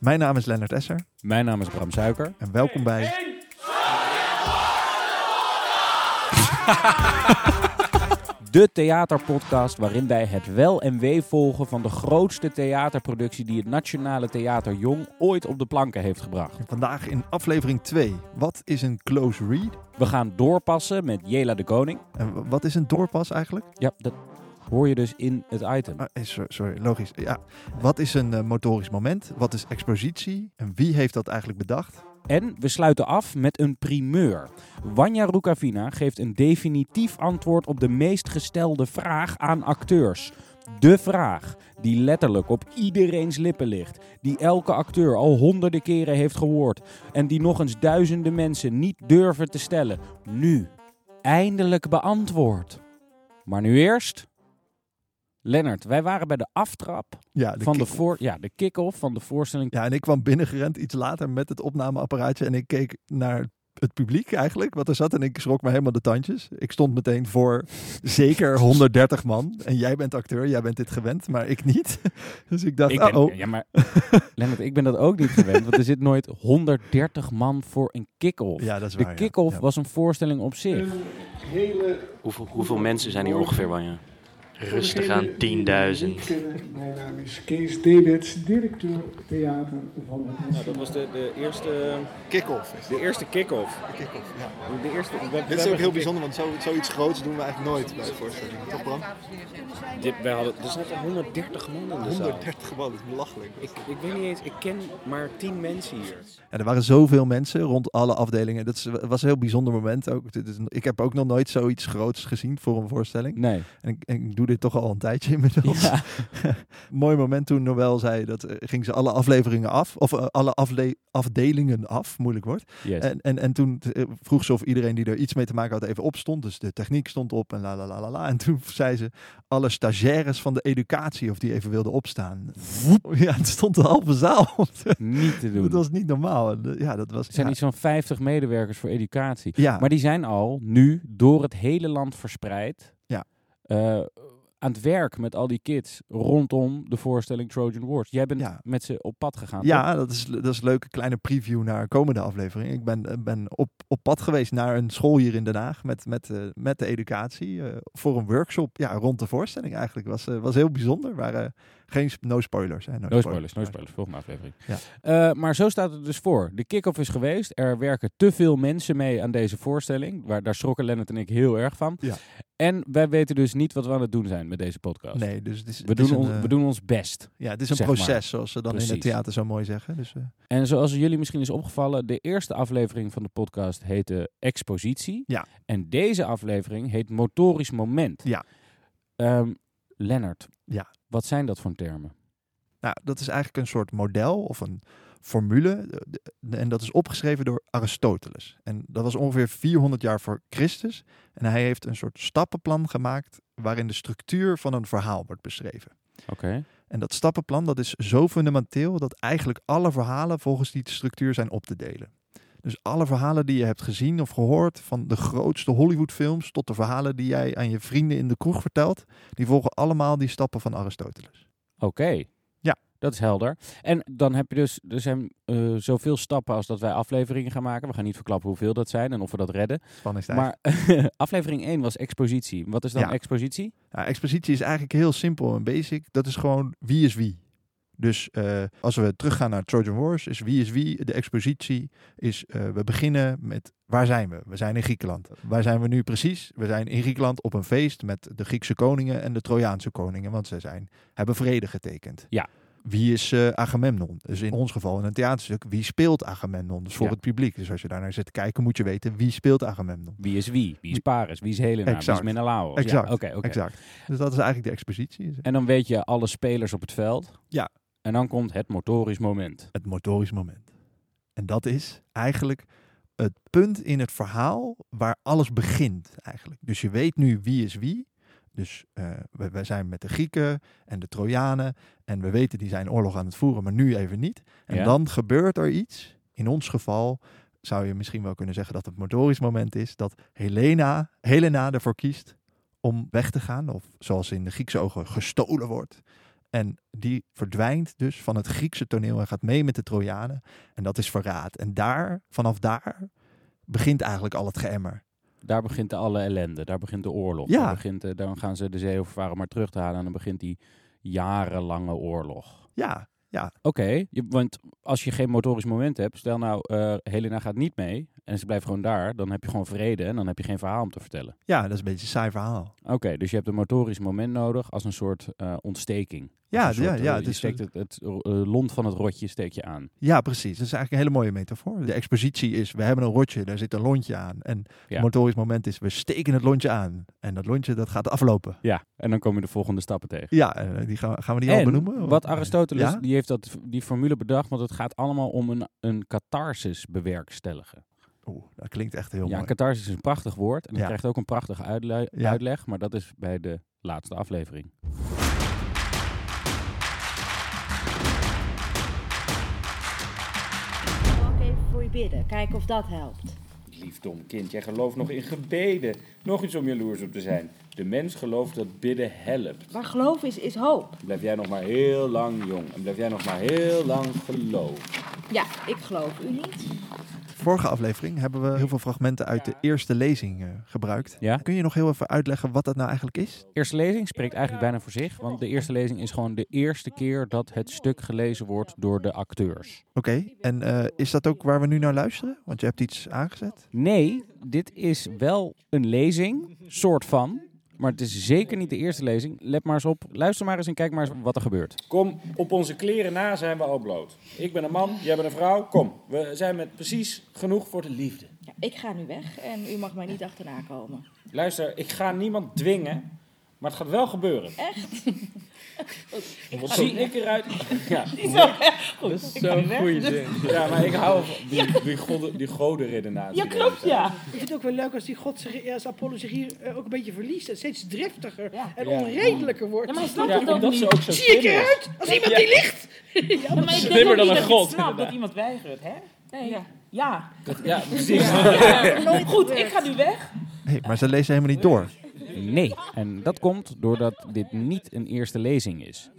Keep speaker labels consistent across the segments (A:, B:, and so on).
A: Mijn naam is Lennart Esser
B: Mijn naam is Bram Suiker.
A: en welkom bij...
B: De theaterpodcast waarin wij het wel en wee volgen van de grootste theaterproductie die het Nationale Theater Jong ooit op de planken heeft gebracht.
A: Vandaag in aflevering 2. Wat is een close read?
B: We gaan doorpassen met Jela de Koning.
A: En w- wat is een doorpas eigenlijk?
B: Ja, dat hoor je dus in het item.
A: Ah, eh, so- sorry, logisch. Ja. Wat is een eh, motorisch moment? Wat is expositie? En wie heeft dat eigenlijk bedacht?
B: En we sluiten af met een primeur. Wanja Rukavina geeft een definitief antwoord op de meest gestelde vraag aan acteurs. De vraag die letterlijk op iedereen's lippen ligt, die elke acteur al honderden keren heeft gehoord en die nog eens duizenden mensen niet durven te stellen. Nu, eindelijk beantwoord. Maar nu eerst. Lennart, wij waren bij de aftrap
A: Ja, Ah, de
B: van de,
A: kick-
B: voor, ja, de kick-off van de voorstelling
A: ja, en ik kwam binnengerend iets later met het opnameapparaatje en ik keek naar het publiek eigenlijk, wat er zat en ik schrok me helemaal de tandjes. Ik stond meteen voor zeker 130 man en jij bent acteur, jij bent dit gewend, maar ik niet. Dus ik dacht,
B: Ik ben,
A: oh,
B: Ja, maar Lennart, ik ben dat ook niet gewend, want er zit nooit 130 man voor een kick-off.
A: Ja, dat is
B: de
A: waar, ja.
B: kick-off
A: Ja.
B: was een voorstelling op zich.
C: Hoeveel, hoeveel mensen zijn hier ongeveer, Wanja?
D: Rustig aan
C: 10.000.
D: 10.000. Mijn naam is Kees Dewits, directeur theater van het
E: Nou, dat was de, de eerste,
F: Kick-off. is
E: de eerste kick-off.
F: de kick-off, ja.
E: De eerste, we- we
F: Dit is ook
E: hebben
F: heel
E: gekickt.
F: bijzonder, want zo, zoiets groots doen we eigenlijk nooit bij voorstellingen. Toch Bram?
E: Dit, wij hadden, er zaten 130 man in de zaal.
F: 130 man, dat is belachelijk.
E: Ik, ik weet niet eens, ik ken maar 10 mensen hier.
A: Ja, er waren zoveel mensen rond alle afdelingen. Dat is- was een heel bijzonder moment ook. Dit is- Ik heb ook nog nooit zoiets groots gezien voor een voorstelling.
B: Nee.
A: En ik, en ik doe dit toch al een tijdje inmiddels.
B: Ja.
A: Mooi moment toen Noël zei dat eh, ging ze alle afleveringen af. Of eh, alle afle- afdelingen af, moeilijk woord.
B: Yes.
A: En, en, en toen eh, vroeg ze of iedereen die er iets mee te maken had even opstond. Dus de techniek stond op en la la la la la. En toen zei ze alle stagiaires van de educatie of die even wilden opstaan. Ja, het stond de halve zaal. op.
B: niet te doen.
A: Dat was niet normaal. En, eh, Ja, dat was...
B: er zijn
A: ja.
B: iets van 50 medewerkers voor educatie.
A: Ja,
B: Maar die zijn al nu door het hele land verspreid.
A: Ja.
B: eh, aan het werk met al die kids rondom de voorstelling Trojan Wars. Jij bent
A: Ja.
B: met ze op pad gegaan. toch?
A: ja dat, is, dat is een leuke kleine preview naar komende aflevering. Ik ben, eh, ben op, op pad geweest naar een school hier in Den Haag met, met, eh, met de educatie eh, voor een workshop ja, rond de voorstelling eigenlijk. Was, eh, was heel bijzonder. Waren geen sp- no spoilers. Hè, no,
B: No spoilers, no spoilers. Volgende aflevering.
A: Ja.
B: Eh, maar zo staat het dus voor. De kick-off is geweest. Er werken te veel mensen mee aan deze voorstelling. Waar, daar schrokken Lennart en ik heel erg van.
A: Ja.
B: En wij weten dus niet wat we aan het doen zijn met deze podcast.
A: Nee, dus het is,
B: We,
A: het is
B: doen ons,
A: een, eh,
B: we doen ons best.
A: ja, het is een
B: zeg maar.
A: proces, zoals ze dan in het
B: Precies.
A: theater zo mooi zeggen. Dus, eh,
B: En zoals jullie misschien is opgevallen, de eerste aflevering van de podcast heette Expositie.
A: Ja.
B: En deze aflevering heet Motorisch Moment.
A: Ja.
B: Ehm, Lennart,
A: Ja.
B: wat zijn dat voor termen?
A: nou, dat is eigenlijk een soort model of een formule. eh, de- En dat is opgeschreven door Aristoteles. En dat was ongeveer 400 jaar voor Christus. En hij heeft een soort stappenplan gemaakt waarin de structuur van een verhaal wordt beschreven.
B: Oké.
A: En dat stappenplan dat is zo fundamenteel dat eigenlijk alle verhalen volgens die structuur zijn op te delen. Dus alle verhalen die je hebt gezien of gehoord, van de grootste Hollywoodfilms tot de verhalen die jij aan je vrienden in de kroeg vertelt, die volgen allemaal die stappen van Aristoteles.
B: Oké.
A: Ja.
B: Dat is helder. En dan heb je dus, er zijn eh, zoveel stappen als dat wij afleveringen gaan maken. We gaan niet verklappen hoeveel dat zijn en of we dat redden.
A: Spannend
B: Maar aflevering 1 was expositie. Wat is dan
A: Ja.
B: expositie?
A: Ja, expositie is eigenlijk heel simpel en basic. Dat is gewoon wie is wie. Dus eh, als we teruggaan naar Trojan Wars, is wie is wie. De expositie is, eh, we beginnen met waar zijn we? We zijn in Griekenland. Waar zijn we nu precies? We zijn in Griekenland op een feest met de Griekse koningen en de Trojaanse koningen, want zij zijn, hebben vrede getekend.
B: Ja.
A: Wie is eh, Agamemnon? Dus in ons geval in een theaterstuk, wie speelt Agamemnon? Dus voor
B: Ja.
A: het publiek. Dus als je daarnaar zit te kijken, moet je weten wie speelt Agamemnon.
B: Wie is wie? Wie is Paris? Wie is Helena?
A: Exact.
B: Wie is Menelaos? Ja,
A: Exact.
B: Oké, oké.
A: Exact. Dus dat is eigenlijk de expositie.
B: En dan weet je alle spelers op het veld.
A: Ja.
B: En dan komt het motorisch moment.
A: het motorisch moment. En dat is eigenlijk het punt in het verhaal waar alles begint eigenlijk. Dus je weet nu wie is wie. Dus eh, we, we zijn met de Grieken en de Trojanen en we weten die zijn oorlog aan het voeren, maar nu even niet. En
B: Ja.
A: dan gebeurt er iets. In ons geval zou je misschien wel kunnen zeggen dat het motorisch moment is dat Helena, Helena ervoor kiest om weg te gaan of zoals in de Griekse ogen gestolen wordt. En die verdwijnt dus van het Griekse toneel en gaat mee met de Trojanen. En dat is verraad. En daar, vanaf daar, begint eigenlijk al het geëmmer.
B: Daar begint de alle ellende, daar begint de oorlog.
A: Ja.
B: Daar begint, eh, dan gaan ze de zeeovervaren maar terug te halen en dan begint die jarenlange oorlog.
A: Ja,
B: Oké, je- want als je geen motorisch moment hebt, stel nou eh, Helena gaat niet mee en ze blijft gewoon daar, dan heb je gewoon vrede en dan heb je geen verhaal om te vertellen.
A: ja, dat is een beetje een saai verhaal.
B: Oké, dus je hebt een motorisch moment nodig als een soort eh, ontsteking.
A: Ja,
B: Als een
A: ja,
B: soort, eh,
A: ja,
B: je
A: het is-
B: steekt het, het eh, lont van het rotje steek je aan.
A: Ja, precies. Dat is eigenlijk een hele mooie metafoor. De expositie is, we hebben een rotje, daar zit een lontje aan. En
B: Ja.
A: het motorisch moment is, we steken het lontje aan. En dat lontje, dat gaat aflopen.
B: Ja, en dan kom je de volgende stappen tegen.
A: Ja, en eh, die gaan, we- gaan we die al
B: en
A: benoemen?
B: wat Aristoteles,
A: Ja?
B: die heeft dat, die formule bedacht, want het gaat allemaal om een, een catharsis bewerkstelligen.
A: Oeh, dat klinkt echt heel
B: ja,
A: mooi.
B: catharsis is een prachtig woord en dat
A: Ja.
B: krijgt ook een prachtige uitle-
A: Ja.
B: uitleg, maar dat is bij de laatste aflevering.
G: Ook even voor je bidden, kijken of dat helpt.
E: Liefdom, kind, jij gelooft nog in gebeden. Nog iets om jaloers op te zijn. De mens gelooft dat bidden helpt.
G: Maar geloof is, is hoop.
E: Blijf jij nog maar heel lang jong. En blijf jij nog maar heel lang geloven.
G: Ja, ik geloof u niet.
A: Vorige aflevering hebben we heel veel fragmenten uit de eerste lezing eh, gebruikt.
B: Ja.
A: Kun je nog heel even uitleggen wat dat nou eigenlijk is?
B: Eerste lezing spreekt eigenlijk bijna voor zich, want de eerste lezing is gewoon de eerste keer dat het stuk gelezen wordt door de acteurs.
A: Oké, en eh, is dat ook waar we nu naar luisteren? Want je hebt iets aangezet.
B: Nee, dit is wel een lezing, soort van, maar het is zeker niet de eerste lezing. Let maar eens op, luister maar eens en kijk maar eens wat er gebeurt.
E: Kom, op onze kleren na zijn we al bloot. Ik ben een man, jij bent een vrouw. Kom, we zijn met precies genoeg voor de liefde.
G: Ja, ik ga nu weg en u mag mij niet achterna komen.
E: Luister, ik ga niemand dwingen, maar het gaat wel gebeuren.
G: Echt?
E: Wat zie ik eruit? Ja,
G: Goed, ik ga nu weg. dus-
E: ja maar ik hou van die, die, goden, die godenredenatie.
G: Ja, klopt, ja.
H: Ik vind het ook wel leuk als die god zich, als Apollo zich hier eh, ook een beetje verliest en steeds driftiger
G: Ja.
H: en
E: Ja.
H: onredelijker wordt.
G: Ja, maar hij snapt
E: Ja,
G: het ook
E: omdat
G: niet.
E: ze ook zo
H: Zie ik
E: slim is.
H: eruit als iemand die ligt?
G: Ja, maar ik
E: Slimmer dan een god,
G: snap dat iemand weigert, hè? Nee. Ja.
E: Ja, precies.
G: Goed, ik ga nu weg.
A: Nee, maar ze lezen helemaal niet door.
B: Nee, en dat komt doordat dit niet een eerste lezing is.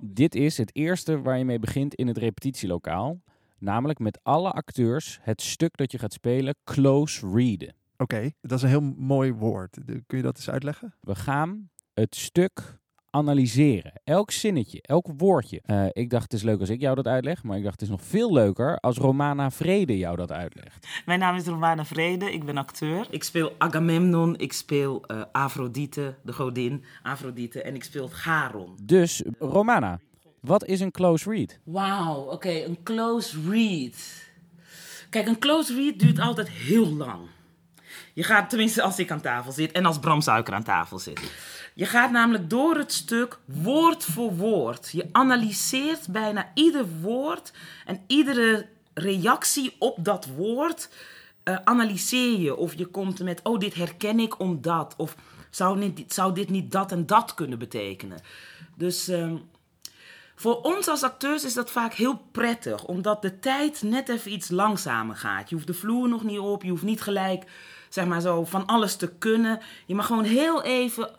B: Dit is het eerste waar je mee begint in het repetitielokaal. Namelijk met alle acteurs het stuk dat je gaat spelen close readen.
A: Oké, dat is een heel mooi woord. De- Kun je dat eens uitleggen?
B: We gaan het stuk analyseren. Elk zinnetje, elk woordje. Eh, ik dacht het is leuk als ik jou dat uitleg, maar ik dacht het is nog veel leuker als Romana Vrede jou dat uitlegt.
I: Mijn naam is Romana Vrede, ik ben acteur. Ik speel Agamemnon, ik speel eh, Afrodite, de godin Afrodite, en ik speel Charon.
B: Dus Romana, wat is een close read?
I: Wauw, oké, een close read. Kijk, een close read duurt altijd heel lang. Je gaat, tenminste als ik aan tafel zit en als Bram Suiker aan tafel zit. Je gaat namelijk door het stuk woord voor woord. Je analyseert bijna ieder woord en iedere reactie op dat woord eh, analyseer je. Of je komt met, oh dit herken ik omdat. Of zou, niet, zou dit niet dat en dat kunnen betekenen? Dus... ehm, voor ons als acteurs is dat vaak heel prettig, omdat de tijd net even iets langzamer gaat. Je hoeft de vloer nog niet op, je hoeft niet gelijk zeg maar zo, van alles te kunnen. Je mag gewoon heel even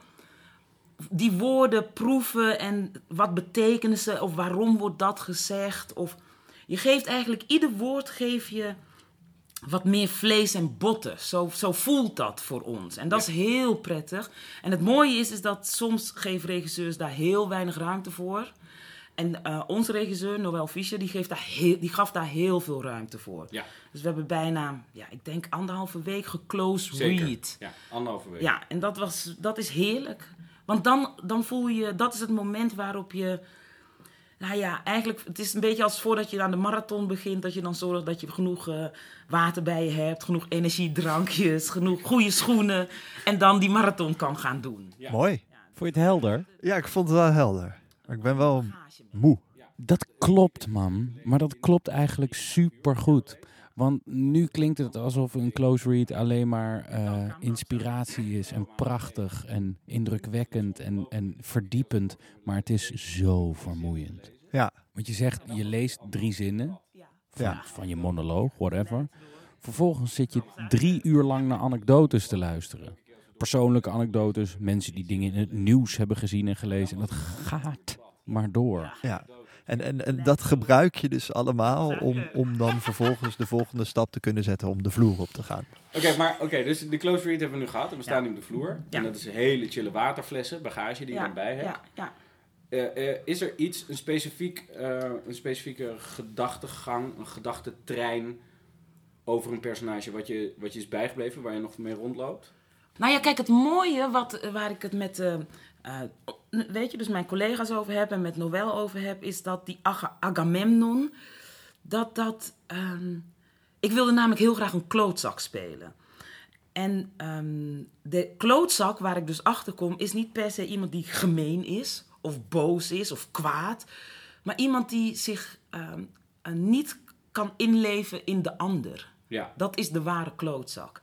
I: die woorden proeven en wat betekenen ze of waarom wordt dat gezegd. Of je geeft eigenlijk ieder woord geef je wat meer vlees en botten. Zo, zo voelt dat voor ons. En dat is heel prettig. En het mooie is, is dat soms geven regisseurs daar heel weinig ruimte voor. En eh, onze regisseur, Noël Fischer, die, geeft daar heel, die gaf daar heel veel ruimte voor.
E: Ja.
I: Dus we hebben bijna, ja, ik denk anderhalve week geclose read.
E: Ja, anderhalve week.
I: Ja, en dat, was, dat is heerlijk. Want dan, dan voel je, dat is het moment waarop je. Nou ja, eigenlijk, het is een beetje als voordat je aan de marathon begint. Dat je dan zorgt dat je genoeg eh, water bij je hebt, genoeg energiedrankjes, genoeg goede schoenen. En dan die marathon kan gaan doen.
E: Ja.
A: Mooi.
B: Vond je het helder?
A: Ja, ik vond het wel helder. Maar ik ben wel moe.
B: Dat klopt, man. Maar dat klopt eigenlijk supergoed. Want nu klinkt het alsof een close read alleen maar eh, inspiratie is en prachtig en indrukwekkend en, en verdiepend. Maar het is zo vermoeiend.
A: Ja.
B: Want je zegt, je leest drie zinnen van,
A: Ja.
B: van je monoloog, whatever. Vervolgens zit je drie uur lang naar anekdotes te luisteren. Persoonlijke anekdotes, mensen die dingen in het nieuws hebben gezien en gelezen. En dat gaat maar door.
A: Ja. En, en, en dat gebruik je dus allemaal om, om dan vervolgens de volgende stap te kunnen zetten om de vloer op te gaan.
E: Oké, maar oké, dus de close read hebben we nu gehad. En we staan nu op de vloer.
I: Ja.
E: En dat is hele chille waterflessen, bagage die je
I: ja,
E: dan bij hebt.
I: ja, ja.
E: Eh, eh, is er iets, een, specifiek, eh, een specifieke gedachtegang, een gedachtentrein over een personage wat je, wat je is bijgebleven, waar je nog mee rondloopt?
I: Nou ja, kijk, het mooie wat, waar ik het met, eh, eh, weet je, dus mijn collega's over heb en met Noël over heb, is dat die Aga- Agamemnon, dat dat, ehm, ik wilde namelijk heel graag een klootzak spelen. En ehm, de klootzak waar ik dus achter kom, is niet per se iemand die gemeen is, of boos is, of kwaad, maar iemand die zich ehm, eh, niet kan inleven in de ander.
E: Ja.
I: Dat is de ware klootzak.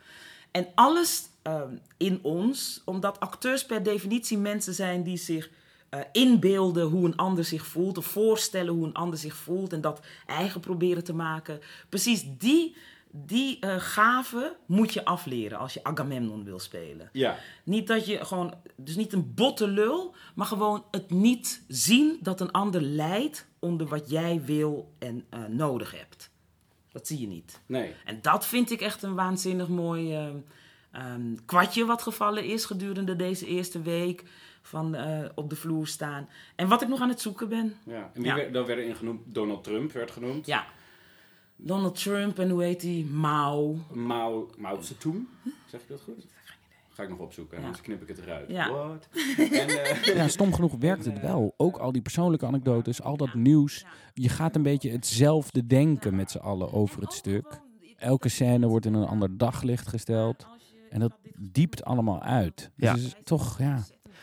I: En alles ehm, in ons, omdat acteurs per definitie mensen zijn die zich eh, inbeelden hoe een ander zich voelt, of voorstellen hoe een ander zich voelt en dat eigen proberen te maken. Precies die, die eh gave moet je afleren als je Agamemnon wil spelen.
E: Ja.
I: Niet dat je gewoon, dus niet een botte lul, maar gewoon het niet zien dat een ander lijdt onder wat jij wil en eh, nodig hebt. Dat zie je niet.
E: Nee.
I: En dat vind ik echt een waanzinnig mooi ehm, ehm, kwartje wat gevallen is gedurende deze eerste week van eh, op de vloer staan. En wat ik nog aan het zoeken ben.
E: Ja. En wie
I: Ja.
E: werd, dan werd er in genoemd? Donald Trump werd genoemd.
I: Ja. Donald Trump en hoe heet die? Mao.
E: Mao, Mao Zedong. Zeg ik dat goed? Ga ik nog opzoeken,
I: Ja.
E: anders knip ik het eruit.
I: Ja.
E: What? En, eh,
B: Ja, stom genoeg werkt het wel. Ook al die persoonlijke anekdotes, al dat nieuws. Je gaat een beetje hetzelfde denken met z'n allen over het stuk. Elke scène wordt in een ander daglicht gesteld. En dat diept allemaal uit. Dus
A: Ja.
B: het is toch, ja.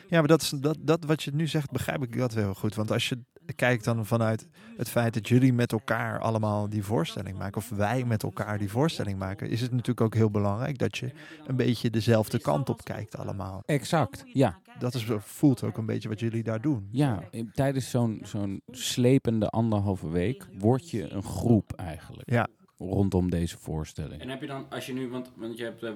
A: Ja, maar dat, is, dat, dat wat je nu zegt, begrijp ik dat wel heel goed. Want als je kijkt dan vanuit het feit dat jullie met elkaar allemaal die voorstelling maken, of wij met elkaar die voorstelling maken, is het natuurlijk ook heel belangrijk dat je een beetje dezelfde kant op kijkt allemaal.
B: Exact, ja.
A: Dat is, voelt ook een beetje wat jullie daar doen.
B: Ja, in- tijdens zo'n zo'n slepende anderhalve week word je een groep eigenlijk.
A: Ja.
B: Rondom deze voorstelling.
E: en heb je dan, als je nu, want, want je hebt... eh,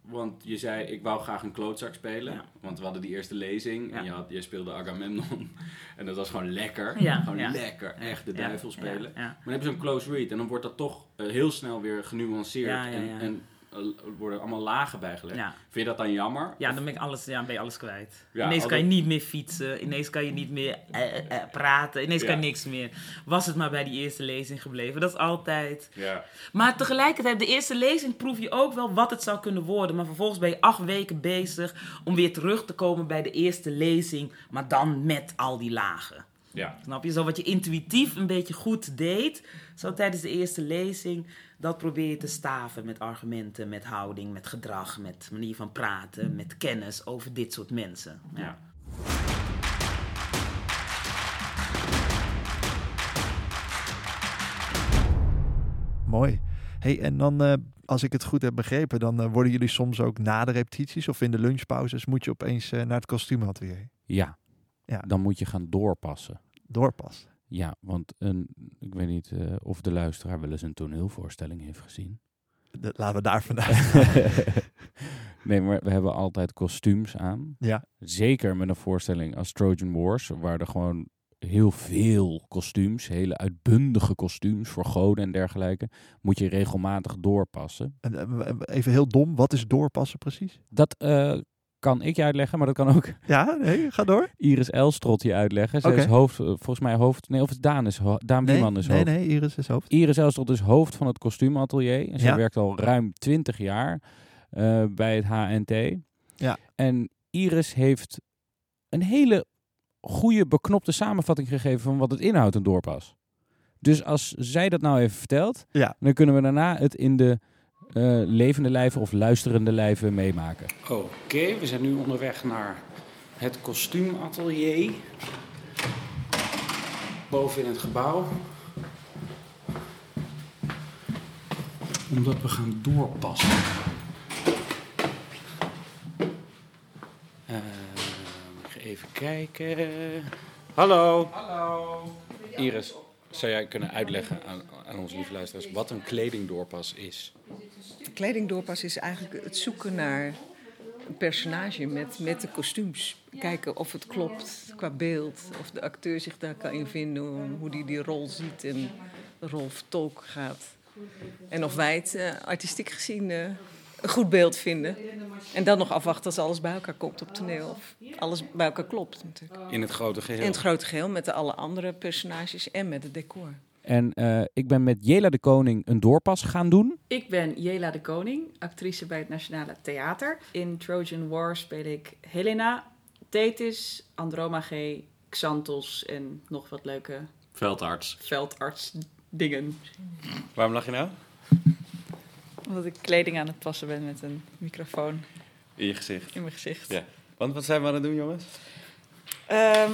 E: want je zei, ik wou graag een klootzak spelen. Want we hadden die eerste lezing. En
I: Ja.
E: je, had, je speelde Agamemnon. En dat was gewoon lekker.
I: Ja,
E: Gewoon
I: ja.
E: lekker. Echt de duivel
I: Ja,
E: spelen.
I: ja, ja.
E: Maar dan hebben ze een close read en dan wordt dat toch eh, heel snel weer genuanceerd
I: Ja, ja,
E: en,
I: ja.
E: en eh, worden allemaal lagen bijgelegd.
I: Ja.
E: Vind je dat dan jammer?
I: Ja, dan ben, ik alles, ja, dan ben je alles kwijt.
E: Ja,
I: ineens
E: al
I: kan je
E: dat-
I: niet meer fietsen. Ineens kan je niet meer eh, eh, eh, praten. Ineens
E: Ja.
I: kan je niks meer. Was het maar bij die eerste lezing gebleven. Dat is altijd.
E: Ja.
I: Maar tegelijkertijd, de eerste lezing proef je ook wel wat het zou kunnen worden. Maar vervolgens ben je acht weken bezig om weer terug te komen bij de eerste lezing. Maar dan met al die lagen.
E: Ja.
I: Snap je? Zo wat je intuïtief een beetje goed deed, zo tijdens de eerste lezing, dat probeer je te staven met argumenten, met houding, met gedrag, met manier van praten, met kennis over dit soort mensen. Ja.
E: Ja.
A: Mooi. Hey, en dan, eh, als ik het goed heb begrepen, dan eh, worden jullie soms ook na de repetities of in de lunchpauzes moet je opeens eh, naar het kostuumatelier
B: Ja.
A: Ja.
B: Dan moet je gaan doorpassen.
A: doorpassen.
B: Ja, want een, ik weet niet eh, of de luisteraar wel eens een toneelvoorstelling heeft gezien.
A: Dat laten we daar vandaag.
B: nee, maar we hebben altijd kostuums aan.
A: Ja.
B: Zeker met een voorstelling als Trojan Wars, waar er gewoon heel veel kostuums, hele uitbundige kostuums voor goden en dergelijke, moet je regelmatig doorpassen.
A: En, eh, Even heel dom, wat is doorpassen precies?
B: Dat eh, kan ik je uitleggen, maar dat kan ook
A: Ja, nee, ga door.
B: Iris Elstrot je uitleggen. Zij
A: Oké.
B: is hoofd, eh, volgens mij hoofd, nee, of het Daan is, ho- Daan
A: Nee,
B: Wieman is
A: nee,
B: hoofd.
A: nee, Iris is hoofd.
B: Iris Elstrot is hoofd van het kostuumatelier. En zij
A: Ja.
B: werkt al ruim 20 jaar eh, bij het HNT.
A: Ja.
B: En Iris heeft een hele goede, beknopte samenvatting gegeven van wat het inhoudt, een doorpas. Dus als zij dat nou even vertelt,
A: Ja.
B: dan kunnen we daarna het in de eh, levende lijven of luisterende lijven meemaken.
E: Oké, we zijn nu onderweg naar het kostuumatelier. Boven in het gebouw. Omdat we gaan doorpassen. Eh, even kijken. Hallo. Hallo. Iris, zou jij kunnen uitleggen aan, aan onze lieve luisteraars wat een kledingdoorpas is?
J: Kledingdoorpas is eigenlijk het zoeken naar een personage met, met de kostuums. Kijken of het klopt, qua beeld. Of de acteur zich daar kan in vinden, hoe- hoe die die rol ziet en de rol tolk gaat. En of wij het eh, artistiek gezien eh, een goed beeld vinden. En dan nog afwachten als alles bij elkaar komt op toneel. Of alles bij elkaar klopt natuurlijk.
E: In het grote geheel.
J: In het grote geheel met de alle andere personages en met het decor.
B: En eh, ik ben met Jela de Koning een doorpas gaan doen.
K: Ik ben Jela de Koning, actrice bij het Nationale Theater. In Trojan War speel ik Helena, Thetis, Andromage, Xanthos en nog wat leuke
C: Veldarts.
K: veldartsdingen.
E: Waarom lach je nou?
K: Omdat ik kleding aan het passen ben met een microfoon
E: In je gezicht.
K: in mijn gezicht.
E: Ja. Want wat zijn we aan het doen, jongens?
K: Ehm,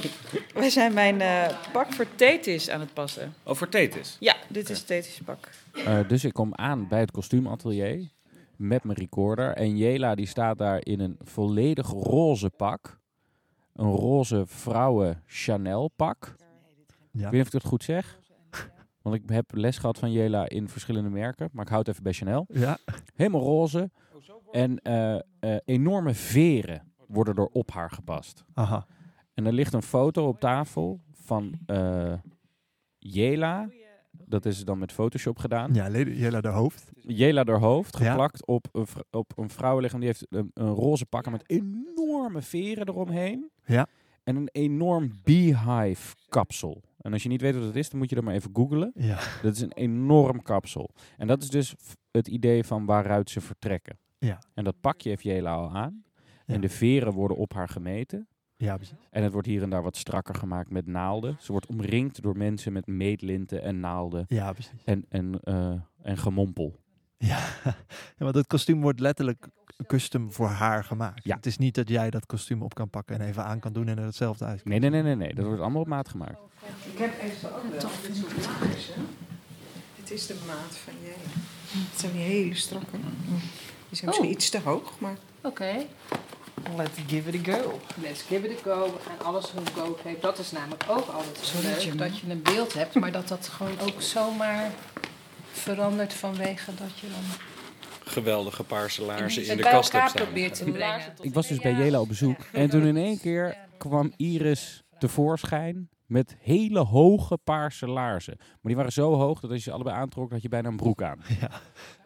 K: wij zijn mijn eh, pak voor Thetis aan het passen.
E: Over Thetis.
K: Ja, dit is Thetis' pak.
B: Eh, dus ik kom aan bij het kostuumatelier met mijn recorder. En Jela die staat daar in een volledig roze pak. Een roze vrouwen Chanel pak. Ik weet niet of ik het goed zeg. Want ik heb les gehad van Jela in verschillende merken. Maar ik houd het even bij Chanel.
A: Ja.
B: Helemaal roze. En eh, eh, enorme veren worden er op haar gepast.
A: Aha.
B: En er ligt een foto op tafel van eh, Jela. Dat is dan met Photoshop gedaan.
A: Ja, leden- Jela de hoofd.
B: Jela haar hoofd
A: Ja.
B: geplakt op, een vr- op een vrouwenlichaam. Die heeft een, een roze pakken met enorme veren eromheen.
A: Ja.
B: En een enorm beehive kapsel. En als je niet weet wat het is, dan moet je dat maar even googlen.
A: Ja.
B: Dat is een enorm kapsel. En dat is dus f- het idee van waaruit ze vertrekken.
A: Ja.
B: En dat pakje heeft Jela al aan.
A: Ja.
B: En de veren worden op haar gemeten.
A: Ja, precies.
B: En het wordt hier en daar wat strakker gemaakt met naalden. Ze wordt omringd door mensen met meetlinten en naalden.
A: Ja, precies.
B: En, en, eh, en gemompel.
A: Ja, want het kostuum wordt letterlijk custom voor haar gemaakt.
B: Ja.
A: Het is niet dat jij dat kostuum op kan pakken en even aan kan doen en er hetzelfde uit.
B: Nee, nee, nee, nee, nee. Dat wordt allemaal op maat gemaakt.
J: Ik heb even ook wel dit soort maatjes, hè. Het is de maat van jij. Het zijn die hele strakke. Die zijn
K: Oh.
J: misschien iets te hoog, maar...
G: Oké.
J: Let's give it a go.
G: Let's give it a go. En alles een go geeft. Dat is namelijk ook altijd zo
J: Zodat
G: leuk.
J: je-
G: dat je een beeld hebt, maar dat dat gewoon ook zomaar verandert vanwege dat je dan...
E: Geweldige paarse laarzen in
G: het
E: de
G: bij
E: kast
G: elkaar
E: hebt staan.
G: probeert te brengen.
B: Ik was dus bij Jela op bezoek. En toen in één keer kwam Iris tevoorschijn met hele hoge paarse laarzen. Maar die waren zo hoog dat als je ze allebei aantrok, had je bijna een broek aan.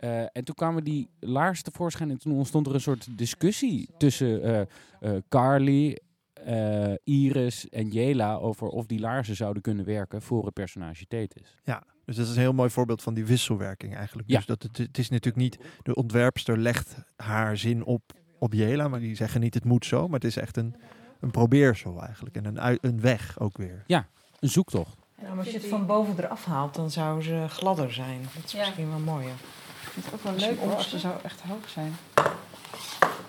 B: Eh, en toen kwamen die laarzen tevoorschijn en toen ontstond er een soort discussie tussen eh, eh, Carly, eh, Iris en Jela over of die laarzen zouden kunnen werken voor het personage Thetis.
A: Ja, dus dat is een heel mooi voorbeeld van die wisselwerking eigenlijk.
B: Ja.
A: Dus dat het, het is natuurlijk niet, de ontwerpster legt haar zin op, op Jela, maar die zeggen niet het moet zo, maar het is echt een, een probeersel eigenlijk. En een, ui- een weg ook weer.
B: Een zoektocht.
J: Nou, maar als je het van boven eraf haalt, dan zou ze gladder zijn. Dat is
G: Ja.
J: misschien wel mooier.
K: Dat is ook wel
J: Als je
K: leuk
J: hem
K: hoor, als ze
J: opzet.
K: zo echt hoog zijn.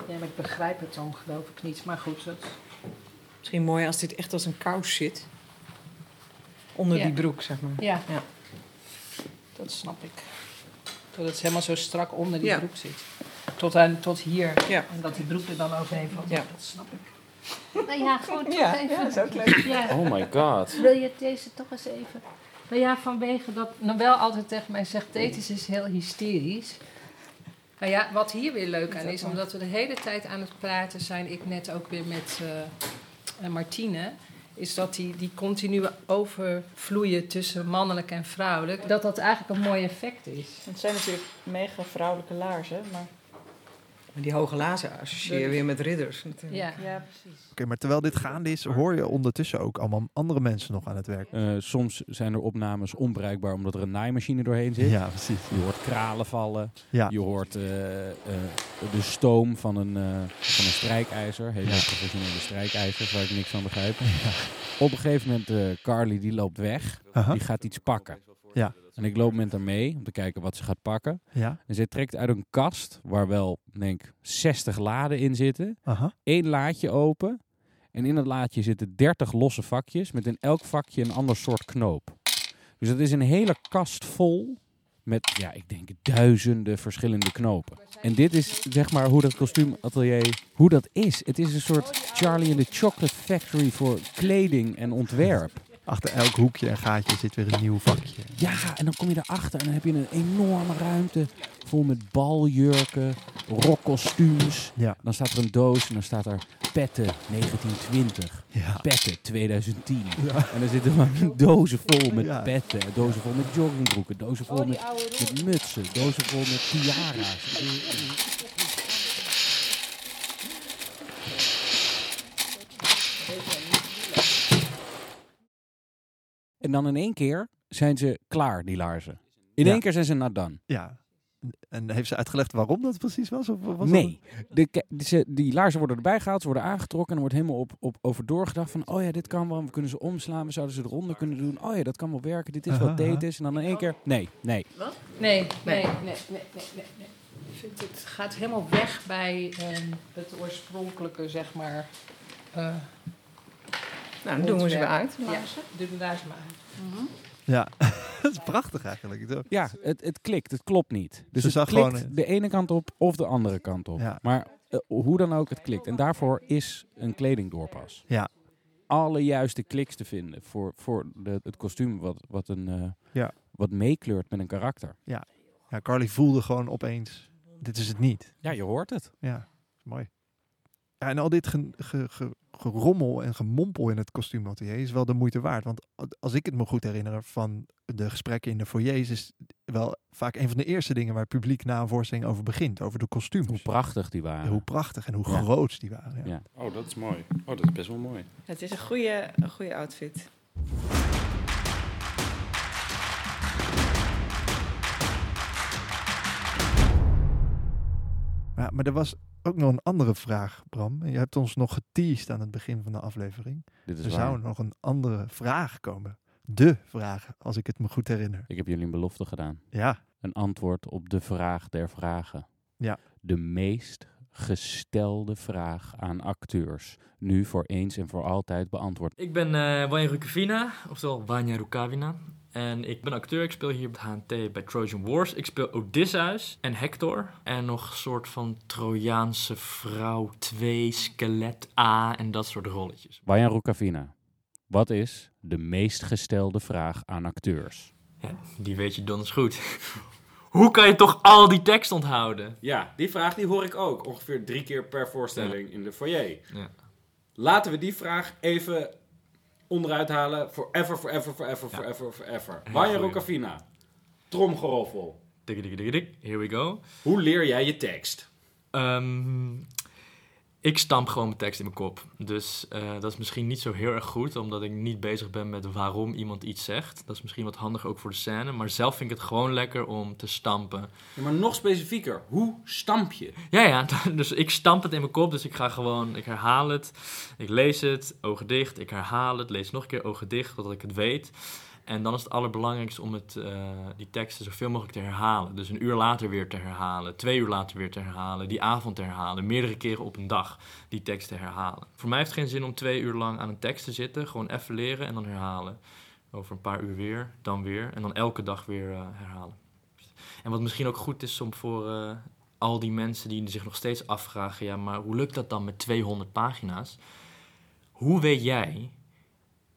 G: Ja, maar ik begrijp het dan geloof ik niet. Maar goed, dat...
J: Misschien mooier als dit echt als een kous zit. Onder
G: Ja.
J: die broek, zeg maar.
G: Ja.
J: Ja.
G: Dat snap ik. Dat het helemaal zo strak onder die
J: Ja.
G: broek zit. Tot, aan, tot hier.
J: Ja.
G: En dat die broek er dan overheen valt.
J: Ja.
G: Dat snap ik.
L: Nou ja, gewoon toch
J: Ja,
L: even.
J: ja, dat is ook leuk.
L: Ja,
B: Oh my god.
L: wil je deze toch eens even... Nou ja, vanwege dat Noël altijd tegen mij zegt, Thetis is dus heel hysterisch. Nou ja, wat hier weer leuk aan is, omdat we de hele tijd aan het praten zijn, ik net ook weer met eh, eh, Martine, is dat die, die continue overvloeien tussen mannelijk en vrouwelijk, dat dat eigenlijk een mooi effect is.
K: Het zijn natuurlijk mega vrouwelijke laarzen, maar...
J: Maar die hoge lazen associeer je weer met ridders natuurlijk.
L: Ja.
K: Ja, precies.
A: Oké, maar terwijl dit gaande is, hoor je ondertussen ook allemaal andere mensen nog aan het werk.
B: Eh, soms zijn er opnames onbruikbaar omdat er een naaimachine doorheen zit.
A: Ja, precies.
B: Je hoort kralen vallen.
A: Ja.
B: Je hoort eh, eh, de stoom van een, eh, van een strijkijzer. Hele professionele strijkijzers waar ik niks van begrijp. Op een gegeven moment, eh, Carly die loopt weg.
A: Aha.
B: Die gaat iets pakken.
A: Ja.
B: En ik loop met haar mee om te kijken wat ze gaat pakken.
A: Ja,
B: En zij trekt uit een kast waar wel, denk ik, 60 laden in zitten.
A: aha.
B: Eén laadje open. En in dat laadje zitten 30 losse vakjes met in elk vakje een ander soort knoop. Dus dat is een hele kast vol met, ja, ik denk duizenden verschillende knopen. En dit is zeg maar hoe dat kostuumatelier, hoe dat is. Het is een soort Charlie in the Chocolate Factory voor kleding en ontwerp.
A: Achter elk hoekje en gaatje zit weer een nieuw vakje.
B: Ja, en dan kom je erachter en dan heb je een enorme ruimte Vol met baljurken, rockkostuums.
A: Ja.
B: Dan staat er een doos en dan staat er petten 1920. Petten 2010. En dan zitten maar dozen vol met
A: Ja.
B: petten. Dozen vol met joggingbroeken. Dozen vol met, met mutsen. Dozen vol met tiara's. En dan in één keer zijn ze klaar, die laarzen. In
A: Ja.
B: één keer zijn ze naar dan.
A: Ja. En heeft ze uitgelegd waarom dat precies was? Of was dat-
B: nee, de, ke- die- ze- die laarzen worden erbij gehaald, ze worden aangetrokken en er wordt helemaal op, op over doorgedacht van, oh ja, dit kan wel, we kunnen ze omslaan, we zouden ze eronder kunnen doen, oh ja, dat kan wel werken, dit is wat
A: Aha, aha.
B: date is. En dan in één keer, nee, nee.
L: Wat? Nee, nee, nee, nee, nee, nee. nee. Ik vind het gaat helemaal weg bij ehm, het oorspronkelijke, zeg maar. eh,
J: Nou, dan doen we ze weer
L: ontwerp.
J: uit.
L: Ja, doen we daar ze maar uit.
A: Ja, dat is prachtig eigenlijk.
B: Ja, het, het klikt, het klopt niet. Dus
A: Ze
B: het
A: zag
B: klikt
A: gewoon-
B: de ene kant op of de andere kant op.
A: Ja.
B: Maar eh, hoe dan ook, het klikt. En daarvoor is een kledingdoorpas.
A: Ja.
B: Alle juiste kliks te vinden voor, voor de, het kostuum wat, wat, een, eh,
A: Ja.
B: wat meekleurt met een karakter.
A: Ja. ja, Carly voelde gewoon opeens, dit is het niet.
B: Ja, je hoort het.
A: Ja, mooi. Ja, en al dit ge- ge- ge- gerommel en gemompel in het kostuumatelier is wel de moeite waard. Want als ik het me goed herinner van de gesprekken in de foyers... is wel vaak een van de eerste dingen waar het publiek na een voorstelling over begint. Over de kostuums. Hoe
B: prachtig die waren.
A: hoe prachtig en hoe
B: Ja.
A: groot die waren. Ja.
B: Ja.
E: Oh, dat is mooi. Oh, dat is best wel mooi.
M: Het is een goede, een goede outfit.
A: Ja, maar er was ook nog een andere vraag, Bram. Je hebt ons nog geteased aan het begin van de aflevering.
B: Dit is
A: er
B: waar.
A: zou nog een andere vraag komen. De vraag, als ik het me goed herinner.
B: Ik heb jullie een belofte gedaan.
A: Ja.
B: Een antwoord op de vraag der vragen.
A: Ja.
B: De meest gestelde vraag aan acteurs. Nu voor eens en voor altijd beantwoord.
N: Ik ben eh Wanya Rukavina, oftewel Wanya Rukavina. En ik ben acteur, ik speel hier bij HNT bij Trojan Wars. Ik speel Odysseus en Hector. En nog een soort van Trojaanse vrouw 2, skelet A en dat soort rolletjes.
B: Wayan Rukavina, wat is de meest gestelde vraag aan acteurs?
N: Ja, die weet je donders goed. Hoe kan je toch al die tekst onthouden?
E: Ja, die vraag die hoor ik ook ongeveer drie keer per voorstelling in de foyer.
N: Ja.
E: Laten we die vraag even onderuit halen. Forever, forever, forever, forever, forever.
N: Heel
E: Wanya
N: goeie.
E: Rokafina. Tromgeroffel.
N: Dik, dik, dik, dik. Here we go.
E: Hoe leer jij je tekst?
N: Ehm, ik stamp gewoon mijn tekst in mijn kop. Dus eh, dat is misschien niet zo heel erg goed, omdat ik niet bezig ben met waarom iemand iets zegt. Dat is misschien wat handig ook voor de scène. Maar zelf vind ik het gewoon lekker om te stampen.
E: Ja, maar nog specifieker, hoe stamp je?
N: Ja, ja, dus ik stamp het in mijn kop. Dus ik ga gewoon, ik herhaal het. Ik lees het, ogen dicht. Ik herhaal het, lees nog een keer, ogen dicht, totdat ik het weet. En dan is het allerbelangrijkste om het, eh, die teksten zoveel mogelijk te herhalen. Dus een uur later weer te herhalen, twee uur later weer te herhalen, die avond te herhalen, meerdere keren op een dag die tekst te herhalen. Voor mij heeft het geen zin om twee uur lang aan een tekst te zitten, gewoon even leren en dan herhalen. Over een paar uur weer, dan weer en dan elke dag weer eh, herhalen. En wat misschien ook goed is om voor eh, al die mensen die zich nog steeds afvragen: ja, maar hoe lukt dat dan met 200 pagina's? Hoe weet jij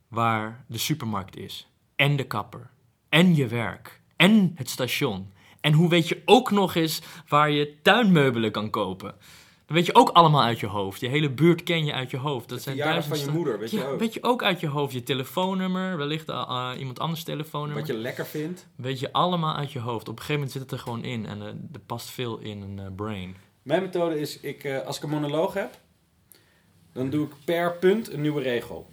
N: waar de supermarkt is? En de kapper. En je werk. En het station. En hoe weet je ook nog eens waar je tuinmeubelen kan kopen? Dat weet je ook allemaal uit je hoofd. Je hele buurt ken je uit je hoofd. Dat zijn
E: verjaardag van
N: duizenden
E: je
N: sta-
E: moeder, weet je
N: Ja,
E: ook.
N: Weet je ook uit je hoofd. Je telefoonnummer, wellicht eh, eh, iemand anders telefoonnummer.
E: Wat je lekker vindt.
N: Weet je allemaal uit je hoofd. Op een gegeven moment zit het er gewoon in en eh, er past veel in een eh, brain.
E: Mijn methode is, ik, eh, als ik een monoloog heb, dan doe ik per punt een nieuwe regel.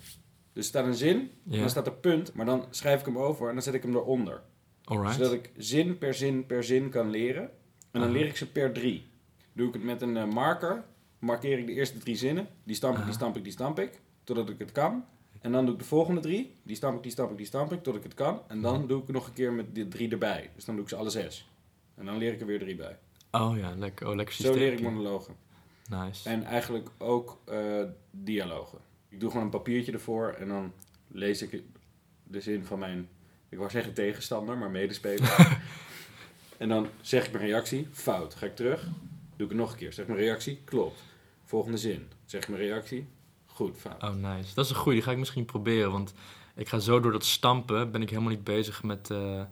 E: Dus er staat een zin,
N: Ja.
E: en dan staat er punt, maar dan schrijf ik hem over en dan zet ik hem eronder.
N: Alright.
E: Zodat Dus ik zin per zin per zin kan leren. En dan
N: Aha.
E: leer ik ze per drie. Doe ik het met een eh, marker, markeer ik de eerste drie zinnen. Die stamp ik, die stamp ik, die stamp ik, totdat ik het kan. En dan doe ik de volgende drie. Die stamp ik, die stamp ik, die stamp ik, tot ik het kan. En dan doe ik nog een keer met de drie erbij. Dus dan doe ik ze alle zes. En dan leer ik er weer drie bij.
N: Oh ja, lekker, oh, lekker
E: Zo
N: systeem.
E: leer ik monologen.
N: Nice.
E: En eigenlijk ook eh, dialogen. Ik doe gewoon een papiertje ervoor en dan lees ik de zin van mijn, ik wou zeggen tegenstander, maar medespeler. en dan zeg ik mijn reactie, fout. Ga ik terug, doe ik het nog een keer. Zeg mijn reactie, klopt. Volgende zin, zeg ik mijn reactie, goed, fout.
N: Oh nice. Dat is een goeie, die ga ik misschien proberen. Want ik ga zo door dat stampen, ben ik helemaal niet bezig met eh, de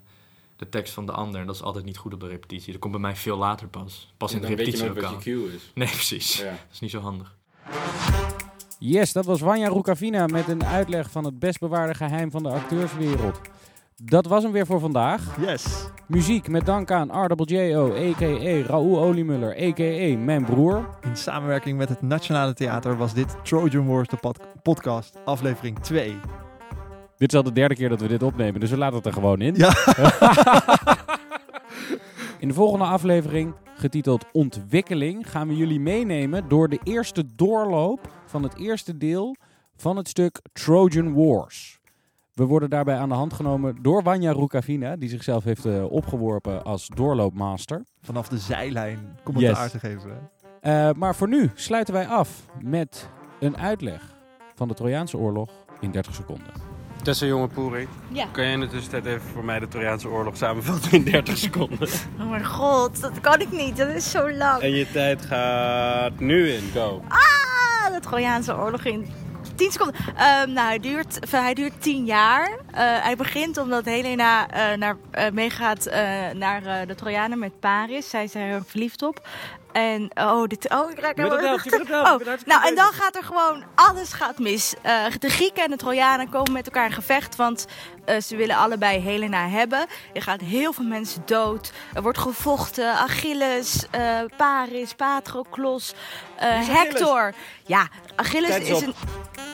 N: de tekst van de ander. En dat is altijd niet goed op de repetitie. Dat komt bij mij veel later pas. Pas
E: Ja,
N: in de
E: dan weet je nooit
N: repetitielokaal.
E: wat je cue is.
N: Nee, precies.
E: Ja.
N: Dat is niet zo handig.
B: Yes, dat was Wanja Rukavina met een uitleg van het best bewaarde geheim van de acteurswereld. Dat was hem weer voor vandaag.
F: Yes.
B: Muziek met dank aan RWJO, a.k.a. Raoul Oliemuller, a.k.a. Mijn Broer.
A: In samenwerking met het Nationale Theater was dit Trojan Wars, de pod- podcast, aflevering 2.
B: Dit is al de derde keer dat we dit opnemen, dus we laten het er gewoon in. in de volgende aflevering, getiteld Ontwikkeling, gaan we jullie meenemen door de eerste doorloop van het eerste deel van het stuk Trojan Wars. We worden daarbij aan de hand genomen door Wanja Rukavina, die zichzelf heeft eh, opgeworpen als doorloopmaster.
A: Vanaf de zijlijn commentaar
B: Yes.
A: te geven. hè?
B: Eh, maar voor nu sluiten wij af met een uitleg van de Trojaanse oorlog in 30 seconden.
E: Tessa jonge Poerik,
O: Ja.
E: kan jij in de tussentijd even voor mij de Trojaanse oorlog samenvatten in 30 seconden?
O: Oh mijn god, dat kan ik niet. Dat is zo lang.
E: En je tijd gaat nu in, go.
O: Ah, de Trojaanse oorlog in 10 seconden. Ehm, nou, hij duurt, enfin, hij duurt 10 jaar. Eh, hij begint omdat Helena eh, naar, eh, meegaat eh, naar eh, de Trojanen met Paris. Zij is er heel erg verliefd op. En oh, dit. Oh, ik raak
P: Je bent op de helft, je bent op de helft, je
O: Oh,
P: bent hartstikke
O: nou, en dan
P: bezig.
O: gaat er gewoon alles gaat mis. Eh, de Grieken en de Trojanen komen met elkaar in gevecht, want eh, ze willen allebei Helena hebben. Er gaan heel veel mensen dood. Er wordt gevochten. Achilles, eh, Paris, Patroklos, eh,
P: Wie is Achilles?
O: Hector. Ja, Achilles
P: Tijd's
O: is
P: op.
O: een.